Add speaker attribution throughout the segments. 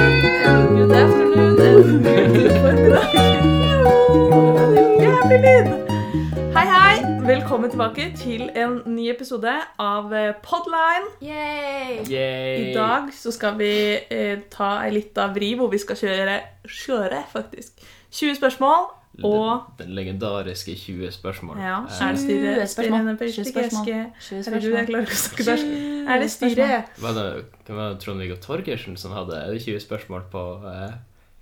Speaker 1: lyd! Hei, hei! Velkommen tilbake til en ny episode av eh, Podline.
Speaker 2: Yay!
Speaker 1: I dag så skal vi eh, ta ei lita vri hvor vi skal kjøre Kjøre, faktisk. 20 spørsmål og
Speaker 3: Den, den legendariske 20 spørsmål.
Speaker 1: ja,
Speaker 3: Eh,
Speaker 1: er det styret?
Speaker 2: 20 spørsmål.
Speaker 1: Styrene på
Speaker 2: 20
Speaker 1: riktig
Speaker 2: spørsmål.
Speaker 1: greske.
Speaker 2: 20
Speaker 1: Herregud, jeg
Speaker 2: spørsmål.
Speaker 1: klarer ikke å snakke norsk. Er det
Speaker 2: 20 spørsmål.
Speaker 1: styret
Speaker 3: var det, hvem var det Trond-Viggo Torgersen som hadde 20 spørsmål på eh,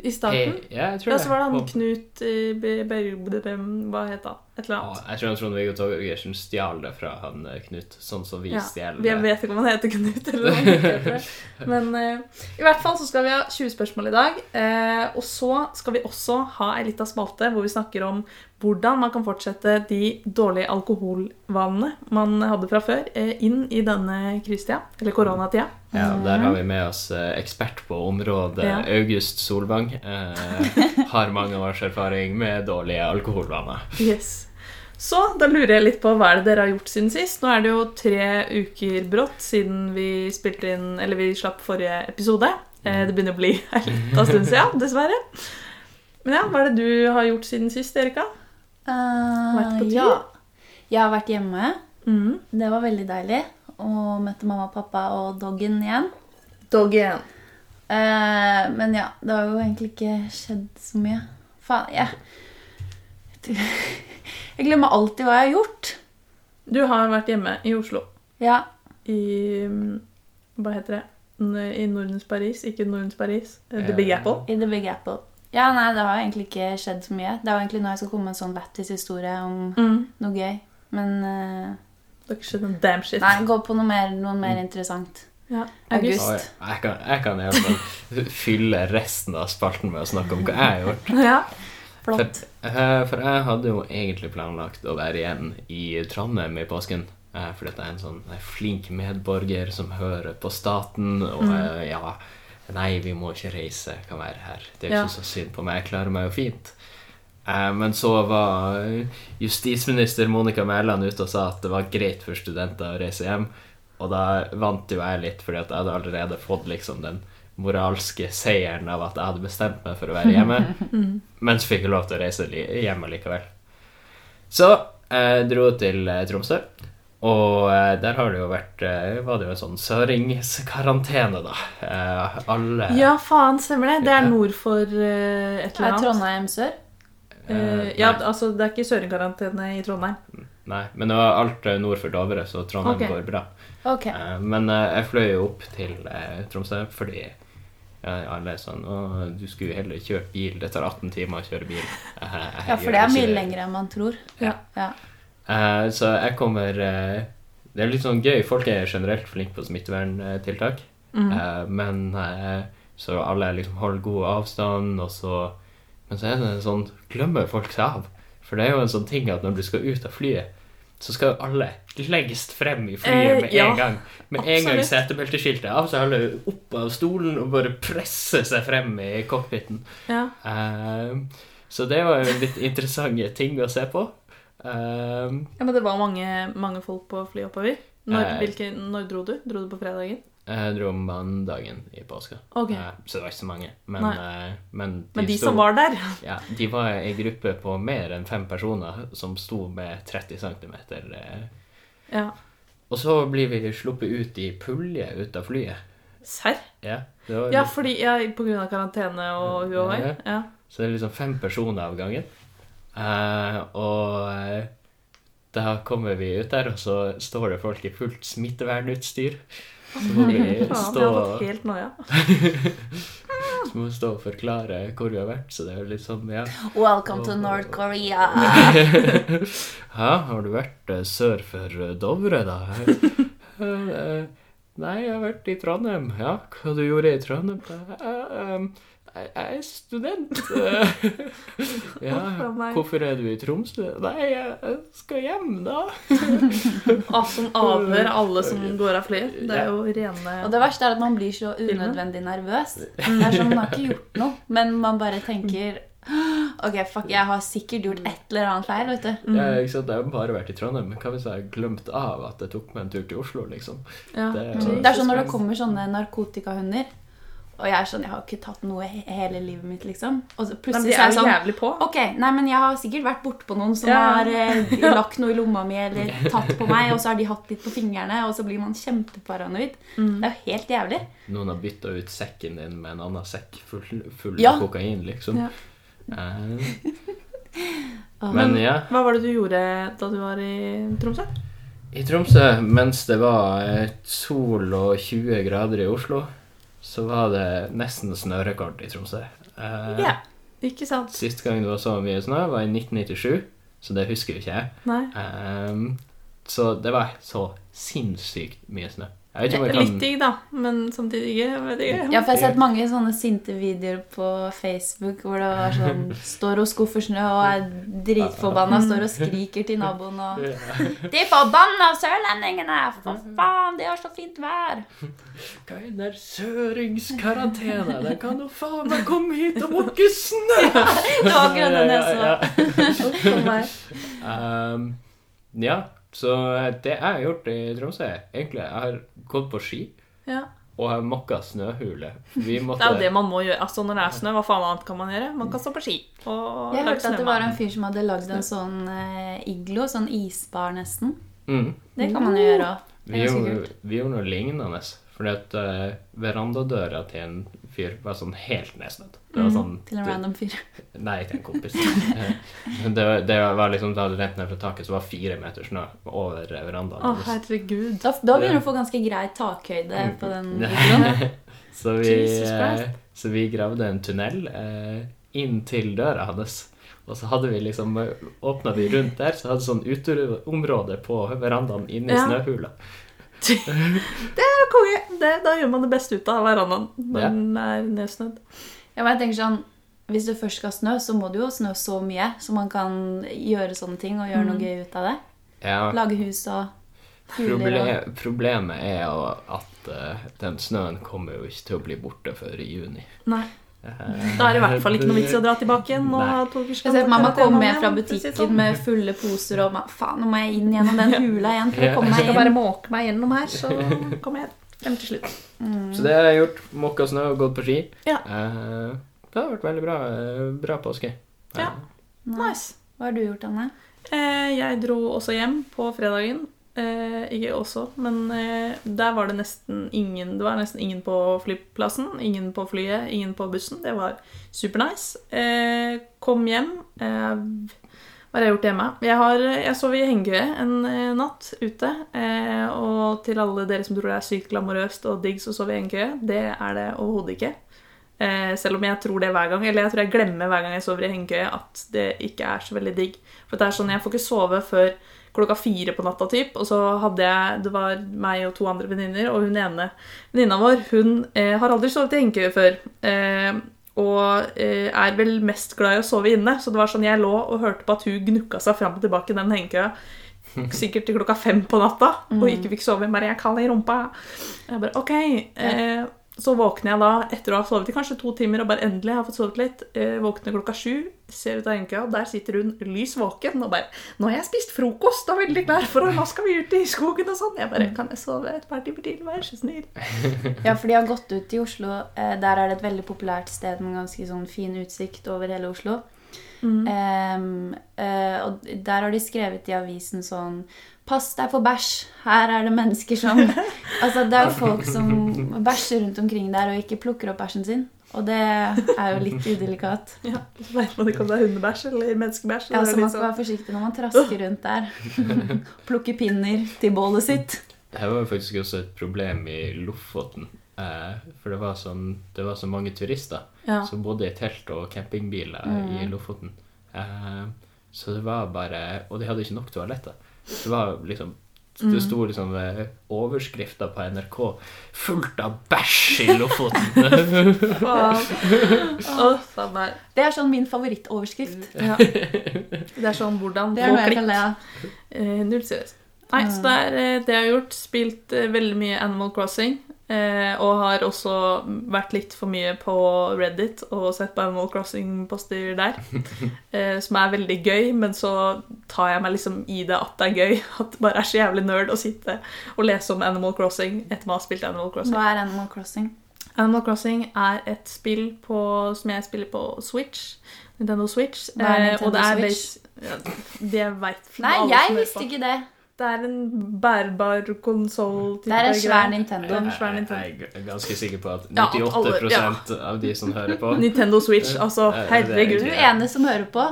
Speaker 1: i starten?
Speaker 3: eh, Ja, jeg tror
Speaker 1: Ja, så var det han
Speaker 3: På-
Speaker 1: Knut eh, Be- Berg- Be- Hva het han? Et eller
Speaker 3: Å,
Speaker 1: annet.
Speaker 3: jeg tror han Trond-Viggo Torgersen stjal det fra han eh, Knut, sånn som vi
Speaker 1: Ja,
Speaker 3: stjeler
Speaker 1: Jeg
Speaker 3: det.
Speaker 1: vet ikke om han heter Knut eller hva han ikke heter. Men eh, i hvert fall så skal vi ha 20 spørsmål i dag. eh, og så skal vi også ha ei lita spalte hvor vi snakker om hvordan man kan fortsette de dårlige alkoholvanene man hadde fra før, eh, inn i denne krisetida, eller koronatida.
Speaker 3: Ja, der har vi med oss eh, ekspert på området,
Speaker 1: Ja.
Speaker 3: August Solvang. Eh, har mange års erfaring med dårlige alkoholvaner.
Speaker 1: Yes. Så da lurer jeg litt på hva er det dere har gjort siden sist. Nå er det jo tre uker brått siden vi spilte inn, eller vi slapp forrige episode. Eh, Det begynner å bli en liten stund siden, dessverre. Men ja, hva er det du har gjort siden sist, Erika? Vært på tur?
Speaker 2: Eh, ja. Jeg har vært hjemme.
Speaker 1: Mm.
Speaker 2: Det var veldig deilig. Og møtte mamma og pappa og doggen igjen.
Speaker 1: Dog igjen.
Speaker 2: Eh, men ja, det har jo egentlig ikke skjedd så mye. Faen, jeg Jeg glemmer alltid hva jeg har gjort.
Speaker 1: Du har vært hjemme i Oslo.
Speaker 2: Ja.
Speaker 1: I mm, Hva heter det? N- I Nordens Paris. Ikke Nordens Paris. eh, The
Speaker 3: Ja.
Speaker 1: Big Apple.
Speaker 2: I The Big Apple. Ja, nei, det har egentlig ikke skjedd så mye. Det er jo egentlig nå jeg skal komme med en sånn lættis historie om
Speaker 1: Mm.
Speaker 2: noe gøy. Men eh,
Speaker 1: Det har ikke skjedd noe damn shit.
Speaker 2: Nei, gå på noe mer, noe mer interessant.
Speaker 1: Ja.
Speaker 2: August.
Speaker 3: Å, jeg, jeg kan, jeg kan i hvert fall fylle resten av spalten med å snakke om hva jeg har gjort.
Speaker 1: Ja.
Speaker 2: Flott.
Speaker 3: Eh, For jeg hadde jo egentlig planlagt å være igjen i Trondheim i påsken. eh, Fordi at jeg er en sånn eh, flink medborger som hører på staten, og eh, ja Nei, vi må ikke reise, jeg kan være her. Det er jo
Speaker 1: Ja.
Speaker 3: ikke så synd på meg, jeg klarer meg jo fint. Eh, Men så var eh, justisminister Monica Mæland ute og sa at det var greit for studenter å reise hjem. Og da vant jo jeg litt, fordi at jeg hadde allerede fått liksom den moralske seieren av at jeg hadde bestemt meg for å være hjemme.
Speaker 1: Mm.
Speaker 3: Men så fikk jeg lov til å reise li- hjem likevel. Så jeg dro til eh, Tromsø. Og eh, der har det jo vært eh, Var det jo en sånn søringskarantene, da. Eh, Alle
Speaker 1: ja, faen, stemmer det. Det er
Speaker 3: Ja.
Speaker 1: nord for eh, et eller
Speaker 2: Er
Speaker 1: annet.
Speaker 2: Trondheim sør?
Speaker 3: eh,
Speaker 1: Eh, ja,
Speaker 3: nei,
Speaker 1: altså Det er ikke søringkarantene i Trondheim.
Speaker 3: nei, men det var alt eh, nord for Dovre, så Trondheim
Speaker 1: Ok.
Speaker 3: går bra.
Speaker 2: Ok.
Speaker 3: Eh, Men eh, jeg fløy jo opp til eh, Tromsø fordi eh, alle er sånn Å, du skulle jo heller kjørt bil. Det tar 18 timer å kjøre bil. Eh, jeg
Speaker 2: Ja, for
Speaker 3: gjør
Speaker 2: det er
Speaker 3: ikke
Speaker 2: mye lengre enn man tror.
Speaker 3: Ja.
Speaker 2: Ja.
Speaker 3: Eh, så jeg kommer eh, Det er litt sånn gøy. Folk er generelt flinke på smitteverntiltak.
Speaker 1: Mm.
Speaker 3: Eh, men eh, så alle liksom holder god avstand, og så Men så er det en sånn Glemmer folk seg av? For det er jo en sånn ting at når du skal ut av flyet, så skal jo alle lengst frem i
Speaker 1: Eh,
Speaker 3: flyet med en
Speaker 1: ja,
Speaker 3: gang. Med en gang
Speaker 1: absolutt.
Speaker 3: setebelteskiltet er av, så er alle opp av stolen og bare presser seg frem i cockpiten.
Speaker 1: Ja.
Speaker 3: Ehm, så det var jo litt interessante ting å se på. Ehm,
Speaker 1: ja, Men det var mange, mange folk på flyet oppover. Når,
Speaker 3: Eh.
Speaker 1: hvilke, når dro du? Dro du på fredagen?
Speaker 3: jeg dro mandagen i påska,
Speaker 1: Ok.
Speaker 3: Eh, så det var ikke så mange. Men, eh, men de,
Speaker 1: Men de
Speaker 3: sto,
Speaker 1: som var der
Speaker 3: ja, De var i gruppe på mer enn fem personer som sto med 30 cm. eh.
Speaker 1: Ja.
Speaker 3: Og så blir vi sluppet ut i pulje ut av flyet.
Speaker 1: Serr?
Speaker 3: Ja, det var
Speaker 1: Ja, fordi ja, på grunn av karantene og hun og
Speaker 3: Ja.
Speaker 1: hun. Ja.
Speaker 3: Så det er liksom fem personer av gangen. Eh, og eh, da kommer vi ut der, og så står det folk i fullt smittevernutstyr. Så må vi
Speaker 1: Faen, jeg hadde
Speaker 3: stå,
Speaker 1: fått helt noia.
Speaker 3: så må vi stå og forklare hvor vi har vært. Så det er jo litt sånn, ja
Speaker 2: Welcome to North Korea!
Speaker 3: Hæ, har du vært eh, sør for eh, Dovre, da? Eh, eh, Nei, jeg har vært i Trondheim. Ja, hva du gjorde i Trondheim? Eh, em, Jeg jeg er student. Eh, Ja,
Speaker 1: Å, nei.
Speaker 3: hvorfor er du i Tromsø? Nei, jeg jeg skal hjem, da.
Speaker 1: Ah, som avhør alle som går av flyet. Det er jo
Speaker 2: Og
Speaker 1: rene
Speaker 2: det verste er at man blir så unødvendig nervøs. Det er sånn, Man har ikke gjort noe, men man bare tenker Ok, fuck, jeg har sikkert gjort et eller annet feil, vet
Speaker 1: Mm.
Speaker 2: du.
Speaker 3: Ja, ikke sant? Jeg har bare vært i Trondheim. Men hva hvis jeg har glemt av at jeg tok meg en tur til Oslo, liksom?
Speaker 1: ja.
Speaker 3: det er-
Speaker 2: Det er sånn når det kommer sånne narkotikahunder, Og jeg er sånn, jeg har jo ikke tatt noe he- hele livet mitt, liksom. Og så
Speaker 1: Men de
Speaker 2: plutselig så er
Speaker 1: er
Speaker 2: jeg
Speaker 1: jo
Speaker 2: sånn
Speaker 1: jævlig på.
Speaker 2: Ok, nei, men jeg har sikkert vært bortpå noen som
Speaker 1: Ja.
Speaker 2: har eh, lagt noe i lomma mi eller tatt på meg, og så har de hatt litt på fingrene, og så blir man kjempeparanoid. Det er jo helt jævlig.
Speaker 3: Noen har bytta ut sekken din med en annen sekk full, full
Speaker 2: Ja.
Speaker 3: av kokain, liksom.
Speaker 1: Ja. Ah.
Speaker 3: Eh,
Speaker 2: Åh.
Speaker 3: men ja.
Speaker 1: Hva var det du gjorde da du var i Tromsø?
Speaker 3: I Tromsø, mens det var eh, sol og 20 grader i Oslo, så var det nesten snørekord i Tromsø. Eh,
Speaker 1: Ja. Ikke sant?
Speaker 3: Sist gang det var så mye snø, var i 1997, så det husker jo ikke jeg.
Speaker 1: Nei.
Speaker 3: Ehm, så det var så sinnssykt mye snø. Jeg vet ikke om jeg
Speaker 1: Litt
Speaker 3: kan
Speaker 1: digg, da, men samtidig ikke. Jeg vet ikke.
Speaker 2: Ja, for jeg har sett mange sånne sinte videoer på Facebook hvor det var sånn Står og skuffer snø og er dritforbanna, står og skriker til naboen og De forbanna sørlendingene! For faen, de har så fint vær!
Speaker 3: Hva er den der søringskarantena? Den kan jo faen meg komme hit og måke snø!
Speaker 2: Det var akkurat den jeg så.
Speaker 1: Uff, for meg.
Speaker 3: Ehm, ja, så det jeg har gjort i Tromsø, egentlig Jeg har gått på ski
Speaker 1: Ja.
Speaker 3: og jeg mokka snøhule. Vi
Speaker 1: Det er jo det
Speaker 3: måtte
Speaker 1: man må gjøre. Altså, når det er snø, hva faen annet kan man gjøre? Man kan stå på ski og
Speaker 2: Jeg hørte at det var
Speaker 1: snømann.
Speaker 2: en fyr som hadde lagd en sånn eh, iglo, sånn isbar nesten.
Speaker 3: mm,
Speaker 2: Det kan man jo gjøre òg.
Speaker 3: vi, gjorde, vi gjorde noe lignende. Fordi at eh, verandadøra til en fyr var sånn helt nedsnødd. Det var sånn
Speaker 2: Mm, Til en
Speaker 3: det-
Speaker 2: random fyr.
Speaker 3: Nei, ikke en kompis. Eh, Men det, var- det var liksom da det rent ned fra taket, så var fire meter snø over verandaen.
Speaker 1: Å, herregud.
Speaker 2: Da, da begynner du å få ganske grei takhøyde
Speaker 3: Mm.
Speaker 2: på den igloen.
Speaker 3: Nei. så, vi,
Speaker 1: Jesus
Speaker 3: eh,
Speaker 1: Christ.
Speaker 3: så vi gravde en tunnel eh, inn til døra hans. Og så hadde vi liksom åpna vi rundt der, så hadde sånn uteområde på verandaen inni
Speaker 1: Ja.
Speaker 3: snøhula.
Speaker 1: Ja, konge. Det, da gjør man det beste ut av verandaen når
Speaker 3: Ja.
Speaker 1: den er nedsnødd.
Speaker 2: Ja, men jeg tenker sånn, Hvis du først skal snø, så må du jo snø så mye, så man kan gjøre sånne ting og gjøre noe gøy ut av det.
Speaker 3: Ja,
Speaker 2: Lage hus og kuler og
Speaker 3: proble problemet er jo at eh, den snøen kommer jo ikke til å bli borte før i juni.
Speaker 1: Nei.
Speaker 3: Eh,
Speaker 1: Da er det i hvert fall ikke noe vits i å dra tilbake igjen. og
Speaker 3: Nei.
Speaker 1: ha to
Speaker 2: Jeg ser
Speaker 1: ukerskamp.
Speaker 2: for meg man kommer hjem
Speaker 1: Ja,
Speaker 2: fra
Speaker 1: precis sånn.
Speaker 2: butikken med fulle poser og man, Faen, nå må jeg inn gjennom den hula igjen for å
Speaker 3: Ja.
Speaker 2: komme
Speaker 1: Jeg
Speaker 2: meg
Speaker 1: skal
Speaker 2: inn.
Speaker 1: bare måke meg gjennom her, så kommer jeg frem til slutt.
Speaker 3: Så det har jeg gjort. Mokka snø og gått på ski.
Speaker 1: Ja.
Speaker 3: Eh, det har vært veldig bra, eh, bra påske. Eh,
Speaker 1: Ja. Nice.
Speaker 2: Hva har du gjort, Anne?
Speaker 1: Eh, jeg dro også hjem på fredagen. Eh, ikke også, men eh, der var det nesten ingen Det var nesten ingen på flyplassen, ingen på flyet, ingen på bussen. Det var supernice. Eh, kom hjem. Eh, hva har jeg gjort hjemme? Jeg, har, jeg sov i hengekøye en eh, natt ute. Eh, og til alle dere som tror det er sykt glamorøst og digg å sove i hengekøye, det er det overhodet ikke. Eh, selv om jeg tror det hver gang, eller jeg tror jeg glemmer hver gang jeg sover i hengekøye, at det ikke er så veldig digg. For det er sånn, jeg får ikke sove før klokka fire på natta, typ. Og så hadde jeg, det var meg og to andre venninner, og hun ene venninna vår, hun eh, har aldri sovet i hengekøye før. Eh, og eh, er vel mest glad i å sove inne, så det var sånn jeg lå og hørte på at hun gnukka seg fram og tilbake i den hengekøya. Sikkert til klokka fem på natta, og ikke fikk sove. Bare 'jeg kan i rumpa'. Jeg bare OK. Eh, så våkner jeg da etter å ha sovet i kanskje to timer og bare endelig har jeg fått sovet litt. Eh, våkner klokka sju, ser ut av hengekøya, og der sitter hun lys våken og bare 'Nå har jeg spist frokost og er veldig klar for å Nå skal vi ut i skogen og sånn.' Jeg bare 'Kan jeg sove et par timer til, vær så snill?'
Speaker 2: Ja, for de har gått ut i Oslo. Eh, der er det et veldig populært sted med ganske sånn fin utsikt over hele Oslo.
Speaker 1: Mm.
Speaker 2: Eh, eh, og der har de skrevet i avisen sånn Pass deg for bæsj! Her er det mennesker som Altså, det er jo folk som bæsjer rundt omkring der og ikke plukker opp bæsjen sin. Og det er jo litt udelikat.
Speaker 1: Ja, Så vet man ikke om det er hundebæsj eller menneskebæsj.
Speaker 2: Ja,
Speaker 1: det er
Speaker 2: så man
Speaker 1: litt
Speaker 2: skal
Speaker 1: sånn-
Speaker 2: være forsiktig når man trasker rundt der. Plukke pinner til bålet sitt.
Speaker 3: Det her var jo faktisk også et problem i Lofoten. eh, for det var, sånn, det var så mange turister
Speaker 1: Ja. Mm.
Speaker 3: som bodde i telt og campingbiler i Lofoten. Eh, så det var bare Og de hadde ikke nok toaletter. Det var liksom
Speaker 1: Mm.
Speaker 3: det sto liksom eh, overskrifter på NRK 'Fullt av bæsj i Lofoten'.
Speaker 1: Faen. Å, faen meg.
Speaker 2: Det er sånn min favorittoverskrift.
Speaker 1: Ja. Det er sånn hvordan
Speaker 2: Det er noe
Speaker 1: få
Speaker 2: jeg
Speaker 1: klikk.
Speaker 2: kan le av.
Speaker 1: Eh, null seriøst. Nei, så det er eh, det jeg har gjort. Spilt eh, veldig mye Animal Crossing. Eh, og har også vært litt for mye på Reddit og sett på Animal Crossing-poster der. Eh, som er veldig gøy, men så tar jeg meg liksom i det at det er gøy. At det bare er så jævlig nerd å sitte og lese om Animal Crossing etter man har spilt Animal Crossing.
Speaker 2: Hva er Animal Crossing?
Speaker 1: Animal Crossing er et spill på, som jeg spiller på Switch. Nintendo Switch.
Speaker 2: Hva er
Speaker 1: eh,
Speaker 2: Nintendo
Speaker 1: og det er
Speaker 2: Switch?
Speaker 1: bas- ja, det veit
Speaker 2: Nei, jeg visste ikke det.
Speaker 1: Det er en bærbar konsoll.
Speaker 2: Det er en svær Nintendo.
Speaker 1: Den svær
Speaker 3: Jeg,
Speaker 1: Nintendo.
Speaker 3: jeg, Eh, jeg er ganske sikker på at
Speaker 1: Ja, at alle-
Speaker 3: 98 av de som hører på
Speaker 1: Nintendo Switch, altså.
Speaker 3: Eh, det er
Speaker 1: Herregud.
Speaker 2: Du er ene som hører på,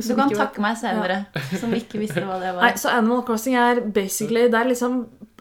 Speaker 2: så du kan takke meg senere.
Speaker 1: senere,
Speaker 2: Som ikke visste hva
Speaker 1: Nei,
Speaker 2: det var.
Speaker 1: så Animal Crossing er basically Det er liksom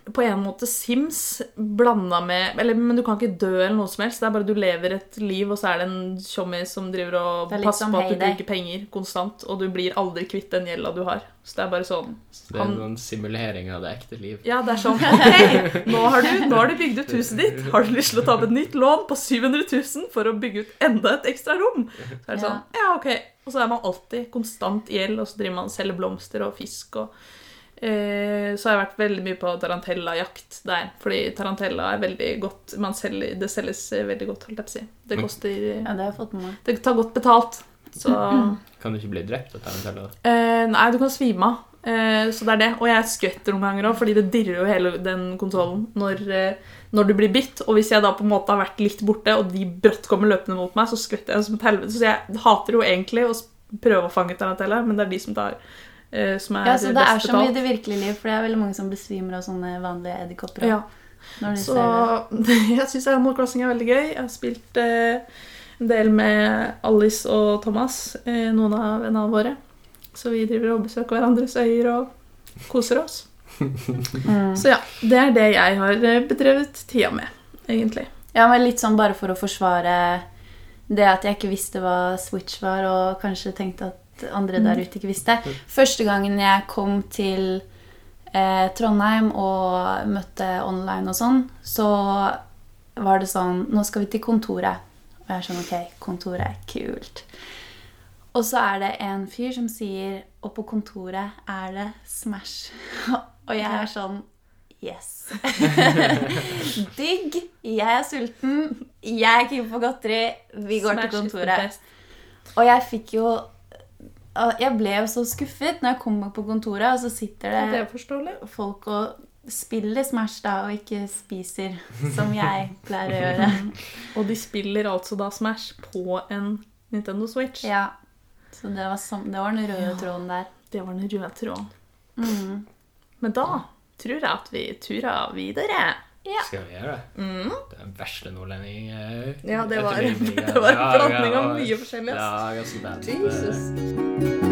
Speaker 1: på en måte Sims blanda med eller, Men du kan ikke dø eller noe som helst. Det er bare du lever et liv, og så er det en tjommis som driver og
Speaker 2: Det er litt
Speaker 1: passer
Speaker 2: som
Speaker 1: på at du
Speaker 2: Hay Day.
Speaker 1: bruker penger konstant, og du blir aldri kvitt den gjelda du har. Så det er bare sånn
Speaker 3: Det er noen simulering av det ekte liv.
Speaker 1: Ja, det er sånn OK, nå har du, nå har du bygd ut huset ditt. Har du lyst til å ta opp et nytt lån på 700 000 for å bygge ut enda et ekstra rom? Så er det sånn Ja, OK. Og så er man alltid konstant i gjeld, og så driver man og selger blomster og fisk og eh, så har jeg vært veldig mye på tarantellajakt der. Fordi tarantella er veldig godt man selger, Det selges eh, veldig godt, holdt jeg på å si. Det koster eh,
Speaker 2: Ja, det har jeg fått med meg.
Speaker 1: Det tar godt betalt. Så
Speaker 3: Kan du ikke bli drept av tarantella?
Speaker 1: Eh, nei, du kan svime av. Eh, så det er det. Og jeg skvetter noen ganger òg, fordi det dirrer jo hele den konsollen når, eh, når du blir bitt. Og hvis jeg da på en måte har vært litt borte, og de brått kommer løpende mot meg, så skvetter jeg som et helvete. Så jeg hater jo egentlig å s- prøve å fange tarantella, men det er de som tar eh, som er
Speaker 2: Ja, så Det er
Speaker 1: best
Speaker 2: som i
Speaker 1: betalt.
Speaker 2: det virkelige liv, for det er veldig mange som besvimer av sånne vanlige edderkopper.
Speaker 1: Ja.
Speaker 2: også, Når de
Speaker 1: Så
Speaker 2: ser det.
Speaker 1: jeg syns Animal Crossing er veldig gøy. Jeg har spilt eh, en del med Alice og Thomas, eh, noen av vennene våre. Så vi driver og besøker hverandres øyer og koser oss.
Speaker 2: Mm.
Speaker 1: Så ja, det er det jeg har eh, bedrevet tida med, egentlig.
Speaker 2: Ja, men litt sånn bare for å forsvare det at jeg ikke visste hva Switch var, og kanskje tenkte at andre der ute ikke visste. Første gangen jeg kom til eh, Trondheim og møtte online og sånn, så var det sånn Nå skal vi til kontoret. Og jeg er sånn Ok, kontoret er kult. Og så er det en fyr som sier Og på kontoret er det Smash. og jeg er sånn Yes. Digg. Jeg er sulten. Jeg er keen på godteri. Vi går
Speaker 1: Smash
Speaker 2: til
Speaker 1: is the
Speaker 2: kontoret.
Speaker 1: best.
Speaker 2: Og jeg fikk jo Jeg ble jo så skuffet når jeg kom på kontoret, og så sitter
Speaker 1: Er det
Speaker 2: det
Speaker 1: forståelig?
Speaker 2: folk og spiller Smash da, og ikke spiser, som jeg pleier å gjøre.
Speaker 1: Og de spiller altså da Smash på en Nintendo Switch.
Speaker 2: Ja. Så det var, sam- det var den røde tråden der.
Speaker 1: Det var den røde tråden.
Speaker 2: Mm.
Speaker 1: Men da tror jeg at vi turer videre.
Speaker 2: Ja.
Speaker 3: Skal vi gjøre det?
Speaker 1: Mm.
Speaker 3: Det er den verste nordlending eh,
Speaker 1: Ja, det var,
Speaker 3: etter min mening,
Speaker 1: det var en
Speaker 3: ja.
Speaker 1: blanding
Speaker 3: Ja,
Speaker 1: av
Speaker 3: ja.
Speaker 1: mye forskjellig. ass.
Speaker 3: Ja, ganske bad. Eh,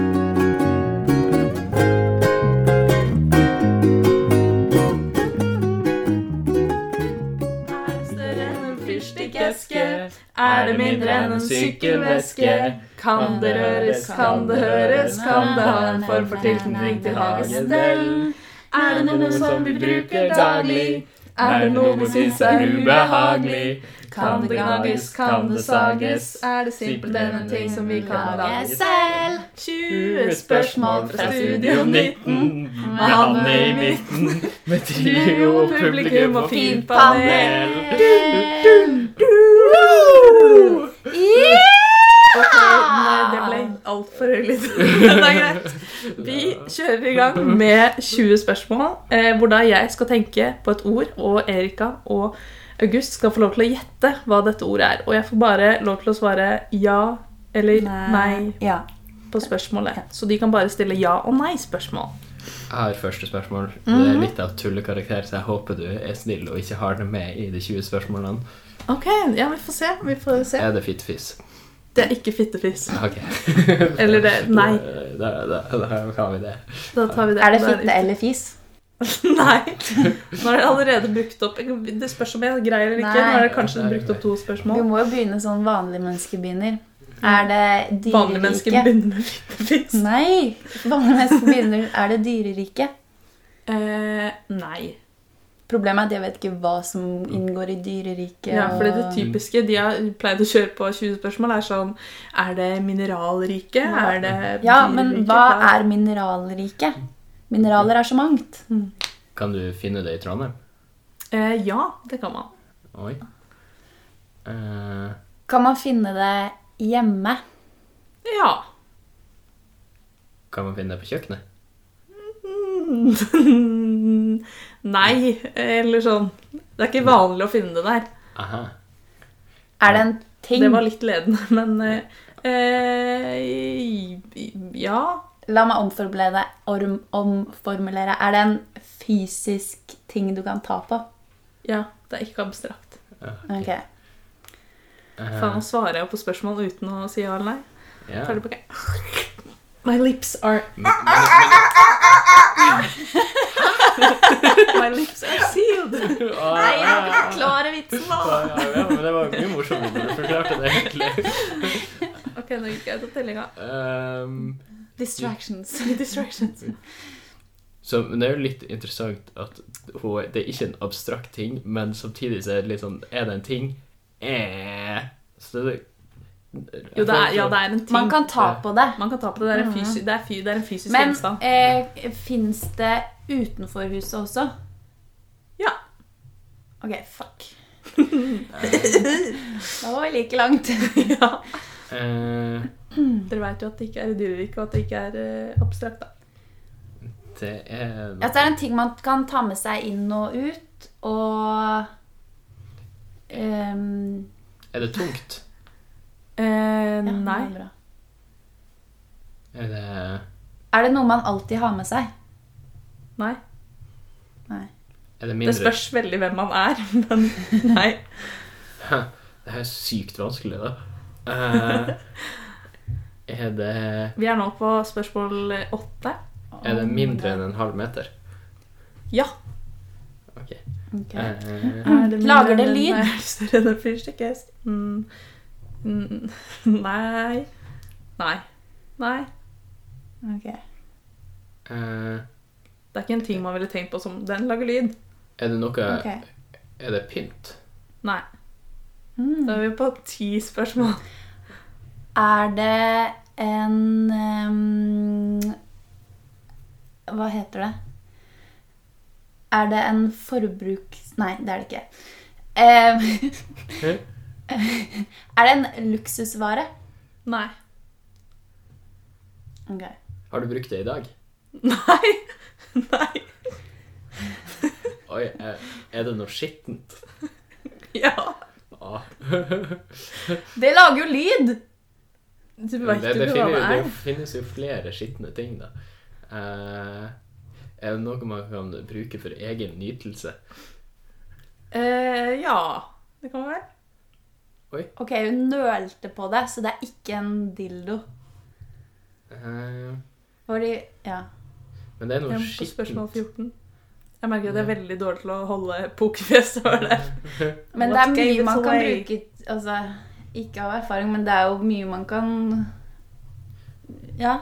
Speaker 1: Større enn en fyrstikkeske,
Speaker 3: Stikkeske,
Speaker 1: er det mindre enn en sykkelveske? Kan det røres, kan det høres, kan det ha en form for tilknytning til hagestell? Er det noe som vi bruker daglig? Er det noe vi syns er ubehagelig? Kan det gnages, kan det sages? Er det simpelthen en ting som vi kan lage?
Speaker 2: Jeg selv.
Speaker 1: 20 spørsmål fra Studio 19.
Speaker 3: med Hanne i midten, med trio,
Speaker 1: Studio, publikum og
Speaker 3: fint
Speaker 1: fint panel. Ok, nei, det ble altfor høylytt. Men det er greit. Vi kjører i gang med 20 spørsmål, eh, hvor da jeg skal tenke på et ord, og Erika og August skal få lov til å gjette hva dette ordet er. Og jeg får bare lov til å svare ja eller nei,
Speaker 2: Ja.
Speaker 1: på spørsmålet. Så de kan bare stille ja- og nei-spørsmål.
Speaker 3: Jeg har første spørsmål. Det
Speaker 1: Mhm.
Speaker 3: er litt av tullekarakter, så jeg håper du er snill og ikke har det med i de 20 spørsmålene.
Speaker 1: Ok, ja, vi får se. Vi får se.
Speaker 3: Er det fittefis?
Speaker 1: Det er ikke fittefis.
Speaker 3: Ok.
Speaker 1: Eller det Nei.
Speaker 3: Da, da, da har vi det.
Speaker 1: Da tar vi det.
Speaker 2: Er det
Speaker 1: Da
Speaker 2: fitte eller fis?
Speaker 1: Nei. Nå er det allerede brukt opp. Det spørs om jeg greier eller ikke. Nå er det kanskje brukt opp to
Speaker 2: Vi
Speaker 1: spørsmål.
Speaker 2: må jo begynne sånn vanlige mennesker begynner. Er det
Speaker 1: Vanlige mennesker
Speaker 2: dyreriket?
Speaker 1: begynner med fittefiss.
Speaker 2: Nei! Vanlige mennesker begynner Er det dyreriket?
Speaker 1: Eh, nei.
Speaker 2: Problemet er at jeg vet ikke hva som inngår i dyreriket.
Speaker 1: Ja, fordi det
Speaker 2: og-
Speaker 1: typiske de har pleid å kjøre på 20 spørsmål, er sånn Er det mineralrike? Er det
Speaker 2: ja, men
Speaker 1: dyrerike?
Speaker 2: hva er mineralriket? Mineraler er så mangt.
Speaker 3: Kan du finne det i Trondheim?
Speaker 1: eh, Ja, det kan man.
Speaker 3: Oi. Eh,
Speaker 2: Kan man finne det hjemme?
Speaker 1: Ja.
Speaker 3: kan man finne det på kjøkkenet?
Speaker 1: nei. Eller sånn Det er ikke vanlig å finne det der.
Speaker 3: Aha.
Speaker 2: Er det en ting?
Speaker 1: Det var litt ledende, men eh, eh, Ja.
Speaker 2: La meg omformulere, orm, omformulere. Er det en fysisk ting du kan ta på?
Speaker 1: Ja, det er ikke abstrakt.
Speaker 2: Ok.
Speaker 3: Eh,
Speaker 1: Faen, nå svarer jeg på spørsmål uten å si ja eller nei.
Speaker 3: ja.
Speaker 1: Tar det på gang. My lips are
Speaker 3: Men- men-
Speaker 1: My lips are sealed.
Speaker 3: men- Å,
Speaker 2: Nei, jeg
Speaker 3: ja, ja.
Speaker 2: forklarer vitsen nå!
Speaker 3: Ja, ja, ja, men det var mye morsommere når du forklarte det, egentlig.
Speaker 1: Ok, nå gikk jeg til tellinga.
Speaker 3: Ehm,
Speaker 2: Distractions.
Speaker 1: Distractions.
Speaker 3: så men det er jo litt interessant at hun, det er ikke en abstrakt ting, men samtidig så er det litt sånn Er det en ting? Eh. Så det er
Speaker 1: Jo, det er, ja, det er en ting.
Speaker 2: Man kan ta på det.
Speaker 1: Man kan ta Mm. på det. Det er en, fysi det er fy det er en fysisk
Speaker 2: Men
Speaker 1: gjenstand.
Speaker 2: eh, fins det utenfor huset også?
Speaker 1: Ja.
Speaker 2: Ok, fuck. Da var vi like langt.
Speaker 1: ja.
Speaker 3: Eh,
Speaker 1: Dere vet jo at det ikke er i dyreriket, og at det ikke er eh, abstrakt, da.
Speaker 3: det er
Speaker 2: At det er en ting man kan ta med seg inn og ut, og ehm,
Speaker 3: Er det tungt?
Speaker 1: Eh,
Speaker 2: ja, det
Speaker 1: nei.
Speaker 2: var bra.
Speaker 3: Er det
Speaker 2: Er det noe man alltid har med seg?
Speaker 1: Nei.
Speaker 2: Nei.
Speaker 3: Er det
Speaker 1: Det
Speaker 3: mindre
Speaker 1: spørs veldig hvem man er, men nei.
Speaker 3: Det her er sykt vanskelig, da. Eh, er det
Speaker 1: Vi er nå på spørsmål åtte.
Speaker 3: Er det mindre enn en halv meter?
Speaker 1: Ja.
Speaker 3: Ok.
Speaker 2: Ok.
Speaker 3: Eh,
Speaker 2: Lager det lyd?
Speaker 1: Nei, større enn en fyrstikke? Mm. Mm. Nei. Nei. Nei.
Speaker 2: Ok.
Speaker 3: eh,
Speaker 1: Det er ikke en ting man ville tenkt på som den lager lyd.
Speaker 3: er det noe
Speaker 2: Ok.
Speaker 3: Er det pynt?
Speaker 1: Nei.
Speaker 2: Mm.
Speaker 1: Da er vi på ti spørsmål.
Speaker 2: Er det en ehm, Hva heter det? Er det en forbruks... Nei, det er det ikke. Ehm,
Speaker 3: Hæ?
Speaker 2: er det en luksusvare?
Speaker 1: Nei.
Speaker 2: Ok.
Speaker 3: Har du brukt det i dag?
Speaker 1: Nei. Nei.
Speaker 3: Oi, eh, er det noe skittent?
Speaker 1: Ja.
Speaker 3: Ah.
Speaker 2: Det lager jo lyd!
Speaker 1: Du
Speaker 3: Men
Speaker 1: veit
Speaker 3: det,
Speaker 1: jo
Speaker 3: det,
Speaker 1: ikke hva det
Speaker 3: finnes, det
Speaker 1: er.
Speaker 3: finnes jo flere skitne ting, da. Eh, er det noe man kan bruke for egen nytelse?
Speaker 1: Eh, ja. Det kan være.
Speaker 2: Ok, hun nølte på det, så det er ikke en dildo.
Speaker 3: Eh,
Speaker 2: Fordi Ja.
Speaker 3: men det er
Speaker 1: Jeg
Speaker 3: noe
Speaker 1: er på spørsmål 14.
Speaker 3: skittent.
Speaker 1: Jeg merker at jeg er veldig dårlig til å holde pokerfjes. over det.
Speaker 2: Men det
Speaker 1: What
Speaker 2: er
Speaker 1: gave
Speaker 2: mye man
Speaker 1: it
Speaker 2: kan
Speaker 1: away?
Speaker 2: bruke Altså, ikke av erfaring, men det er jo mye man kan Ja.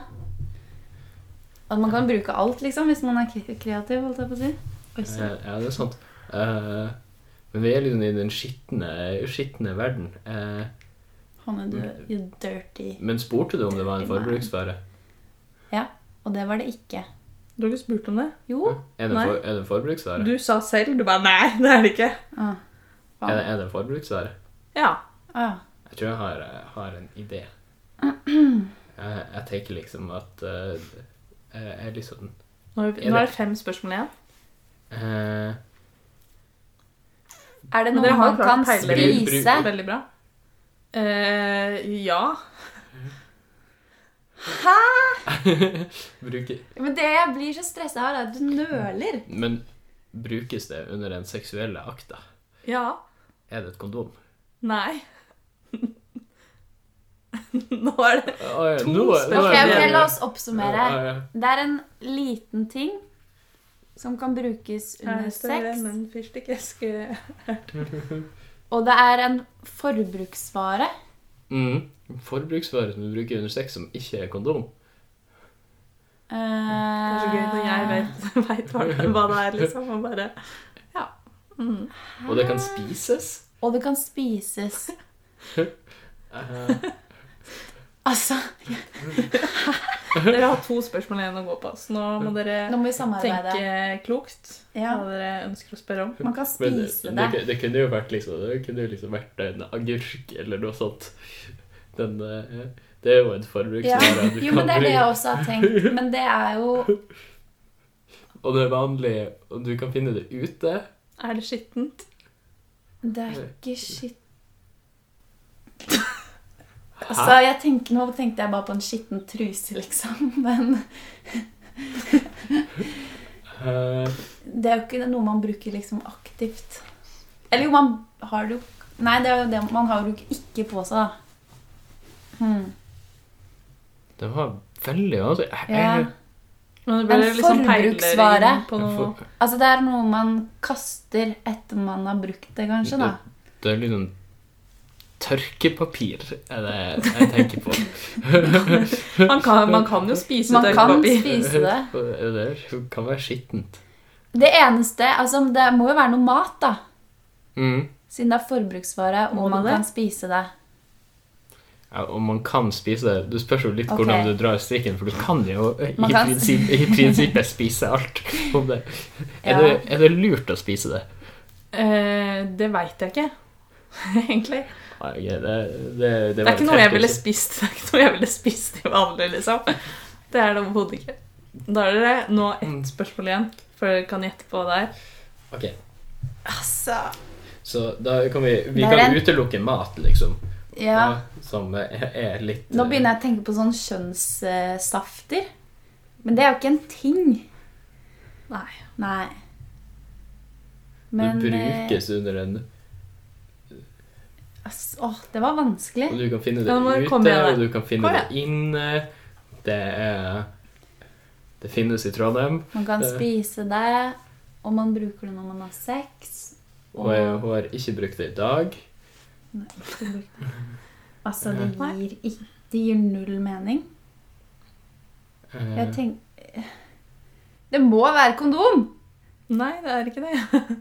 Speaker 2: At man kan bruke alt, liksom, hvis man er kre- kreativ, holdt jeg på å si. Oi,
Speaker 3: Eh,
Speaker 2: sorry.
Speaker 3: Ja, det er sant. Eh, men vi er liksom i den skitne, skitne verden. Eh,
Speaker 2: Hanne, du you dirty.
Speaker 3: men spurte du om det var en forbruksvare?
Speaker 2: Og det var det ikke.
Speaker 1: Du har ikke spurt om det?
Speaker 2: Jo.
Speaker 3: Er det, en
Speaker 1: Nei.
Speaker 3: for, er det en forbruksvare?
Speaker 1: Du sa selv. Du bare Nei, det er det ikke.
Speaker 2: Ah,
Speaker 3: Er, det,
Speaker 2: faen.
Speaker 3: er det en forbruksvare?
Speaker 1: Ja.
Speaker 2: Ah,
Speaker 3: Jeg tror jeg har, eh, har en idé. Jeg, jeg tenker liksom at eh, Jeg er litt sånn
Speaker 1: Nå er, vi, nå er det fem spørsmål igjen.
Speaker 3: eh,
Speaker 2: er
Speaker 1: Men
Speaker 2: det noe
Speaker 1: dere har
Speaker 2: man
Speaker 1: klart
Speaker 2: kan
Speaker 1: peiler.
Speaker 3: Bruk-
Speaker 2: spise?
Speaker 1: Veldig bra. Eh, ja.
Speaker 3: bruke,
Speaker 2: Men det jeg blir så stressa av, er at du nøler.
Speaker 3: Men brukes det under den seksuelle akta?
Speaker 1: Ja.
Speaker 3: Er det et kondom?
Speaker 1: Nei. nå er det
Speaker 3: Oh, ja.
Speaker 1: To
Speaker 3: nå- nå
Speaker 2: Ok,
Speaker 3: er jeg
Speaker 2: ok,
Speaker 3: med.
Speaker 2: La oss oppsummere.
Speaker 3: Ja, ja.
Speaker 2: Det er en liten ting som kan brukes under sex.
Speaker 1: Men eh, fyrstikkeske
Speaker 2: Og det er en forbruksvare.
Speaker 3: Mm. Forbruksvare som du bruker under sex, som ikke er kondom.
Speaker 2: Eh,
Speaker 1: Det er så gøy når
Speaker 2: Ah.
Speaker 1: jeg vet, vet hva, det- hva det er, liksom. Og bare Ja. Mm.
Speaker 3: Og det kan spises.
Speaker 2: Eh, Og det kan spises.
Speaker 3: Eh,
Speaker 2: Altså,
Speaker 1: Dere har to spørsmål igjen å gå på, så nå må dere
Speaker 2: nå må vi samarbeide.
Speaker 1: tenke klokt.
Speaker 2: Ja,
Speaker 1: Hva dere ønsker å spørre om.
Speaker 2: man kan
Speaker 3: men
Speaker 2: spise
Speaker 3: det,
Speaker 2: det.
Speaker 3: det kunne jo vært liksom Det kunne jo liksom vært en agurk eller noe sånt. Den, eh, det er jo en
Speaker 2: Ja.
Speaker 3: forbruksvare du
Speaker 2: Jo,
Speaker 3: kan
Speaker 2: men det er det jeg
Speaker 3: bruke.
Speaker 2: også har tenkt. Men det er jo
Speaker 3: Og det er vanlig, og du kan finne det ute.
Speaker 1: Er det skittent?
Speaker 2: Det er ikke shit Så Altså, jeg tenker, nå tenkte jeg bare på en skitten truse, liksom. Men
Speaker 3: Eh,
Speaker 2: det er jo ikke noe man bruker liksom aktivt. Eller jo, man har det jo Nei, det er jo det man har jo ikke på seg, da. Hmm.
Speaker 3: det var veldig vanskelig. Jeg-
Speaker 2: Ja.
Speaker 3: jeg-
Speaker 1: Men det blir
Speaker 2: En
Speaker 1: liksom
Speaker 2: forbruksvare.
Speaker 1: peiling på noe.
Speaker 3: for-
Speaker 2: Altså, det er noe man kaster etter man har brukt det, kanskje, da.
Speaker 3: Det er liksom Tørkepapir er det jeg tenker på.
Speaker 1: Man kan, man kan jo spise
Speaker 2: Man kan
Speaker 1: tørrpapir.
Speaker 2: spise det.
Speaker 3: Det kan være skittent.
Speaker 2: Det eneste Altså, det må jo være noe mat, da.
Speaker 3: Mm.
Speaker 2: Siden det er forbruksvare,
Speaker 1: Må
Speaker 2: og
Speaker 1: det
Speaker 2: man
Speaker 1: det?
Speaker 2: kan spise det.
Speaker 3: Ja, og man kan spise det. Du spørs jo litt
Speaker 2: Ok.
Speaker 3: hvordan du drar strikken, for du kan jo i,
Speaker 2: Man kan-
Speaker 3: prinsipp, i prinsippet spise alt. Om det. Er,
Speaker 2: Ja.
Speaker 3: det, er det lurt å spise det?
Speaker 1: Eh, det veit jeg ikke, egentlig.
Speaker 3: Nei, ok, det, det, det,
Speaker 1: Det
Speaker 3: var
Speaker 1: er ikke noe jeg
Speaker 3: helt
Speaker 1: ville
Speaker 3: usikkert.
Speaker 1: spist Det er ikke noe jeg ville spist til vanlig, liksom. Det er det overhodet ikke. Da er det nå ett spørsmål igjen, før dere kan gjette på der.
Speaker 3: Ok,
Speaker 2: Altså
Speaker 3: Så da kan vi, vi
Speaker 2: Det er
Speaker 3: kan
Speaker 2: en-
Speaker 3: utelukke mat, liksom.
Speaker 2: Ja.
Speaker 3: Som er er litt
Speaker 2: Nå begynner jeg å tenke på sånn kjønnssafter. Men det er jo ikke en ting.
Speaker 1: Nei.
Speaker 2: Nei.
Speaker 3: Det
Speaker 2: eh,
Speaker 3: brukes under en
Speaker 2: ass, Åh, det var
Speaker 3: Og
Speaker 2: vanskelig.
Speaker 3: du kan finne det
Speaker 1: Ja, nå
Speaker 3: ute,
Speaker 1: kommer jeg der.
Speaker 3: og du kan finne
Speaker 1: Kom
Speaker 3: det inne. Det er Det finnes i Trondheim.
Speaker 2: Man kan
Speaker 3: Det-
Speaker 2: spise det, og man bruker det når man har sex.
Speaker 3: Og jeg har ikke brukt det i dag.
Speaker 2: Altså, det
Speaker 1: Nei.
Speaker 2: gir, ikk- det gir null mening.
Speaker 3: Eh,
Speaker 2: Jeg tenk... Det må være kondom!
Speaker 1: Nei, det er ikke det.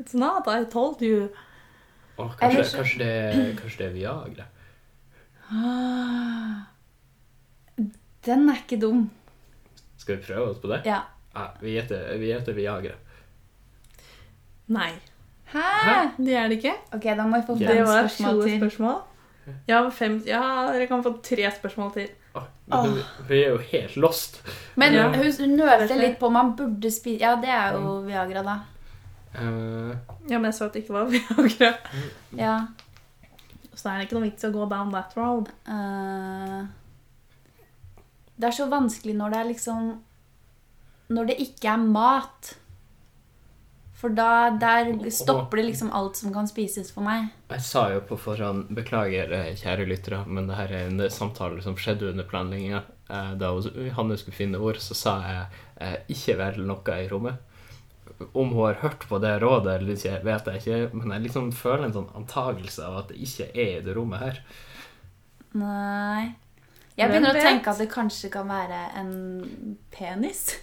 Speaker 1: It's not. I told you.
Speaker 3: å, kanskje,
Speaker 2: ellers-
Speaker 3: kanskje, det, kanskje det er Viagra?
Speaker 2: Ah. Den er ikke dum.
Speaker 3: Skal vi prøve oss på det?
Speaker 2: Ja.
Speaker 3: Ja, vi gjetter vi gjetter Viagra.
Speaker 1: Nei.
Speaker 2: Hæ?
Speaker 1: Det er det ikke.
Speaker 2: Ok, da må jeg få
Speaker 3: Det
Speaker 1: Det
Speaker 2: fem
Speaker 1: var
Speaker 2: spørsmål
Speaker 1: 20
Speaker 2: til.
Speaker 1: spørsmål. Ja, fem, ja, dere kan få tre spørsmål til.
Speaker 3: Å, men vi, vi er jo helt lost.
Speaker 2: Men
Speaker 1: Ja.
Speaker 2: hun hun nølte litt på om man burde spise Ja, det er jo Viagra, da.
Speaker 3: Eh,
Speaker 1: Ja, men jeg sa at det ikke var Viagra.
Speaker 2: Ja.
Speaker 1: Så er det ikke noe vits i å gå down that road.
Speaker 2: eh, Det er så vanskelig når det er liksom Når det ikke er mat. For da der stopper det liksom alt som kan spises for meg.
Speaker 3: jeg sa jo på forhånd Beklager, eh, kjære lyttere, men det her er en samtale som skjedde under planlegginga. Eh, Da hun- Hanne skulle finne ord, så sa jeg eh, 'ikke vel noe i rommet'. Om hun har hørt på det rådet eller ikke, vet jeg ikke, men jeg liksom føler en sånn antagelse av at det ikke er i det rommet her.
Speaker 2: Nei. Jeg
Speaker 1: Hvem
Speaker 2: begynner å
Speaker 1: vet?
Speaker 2: tenke at det kanskje kan være en penis.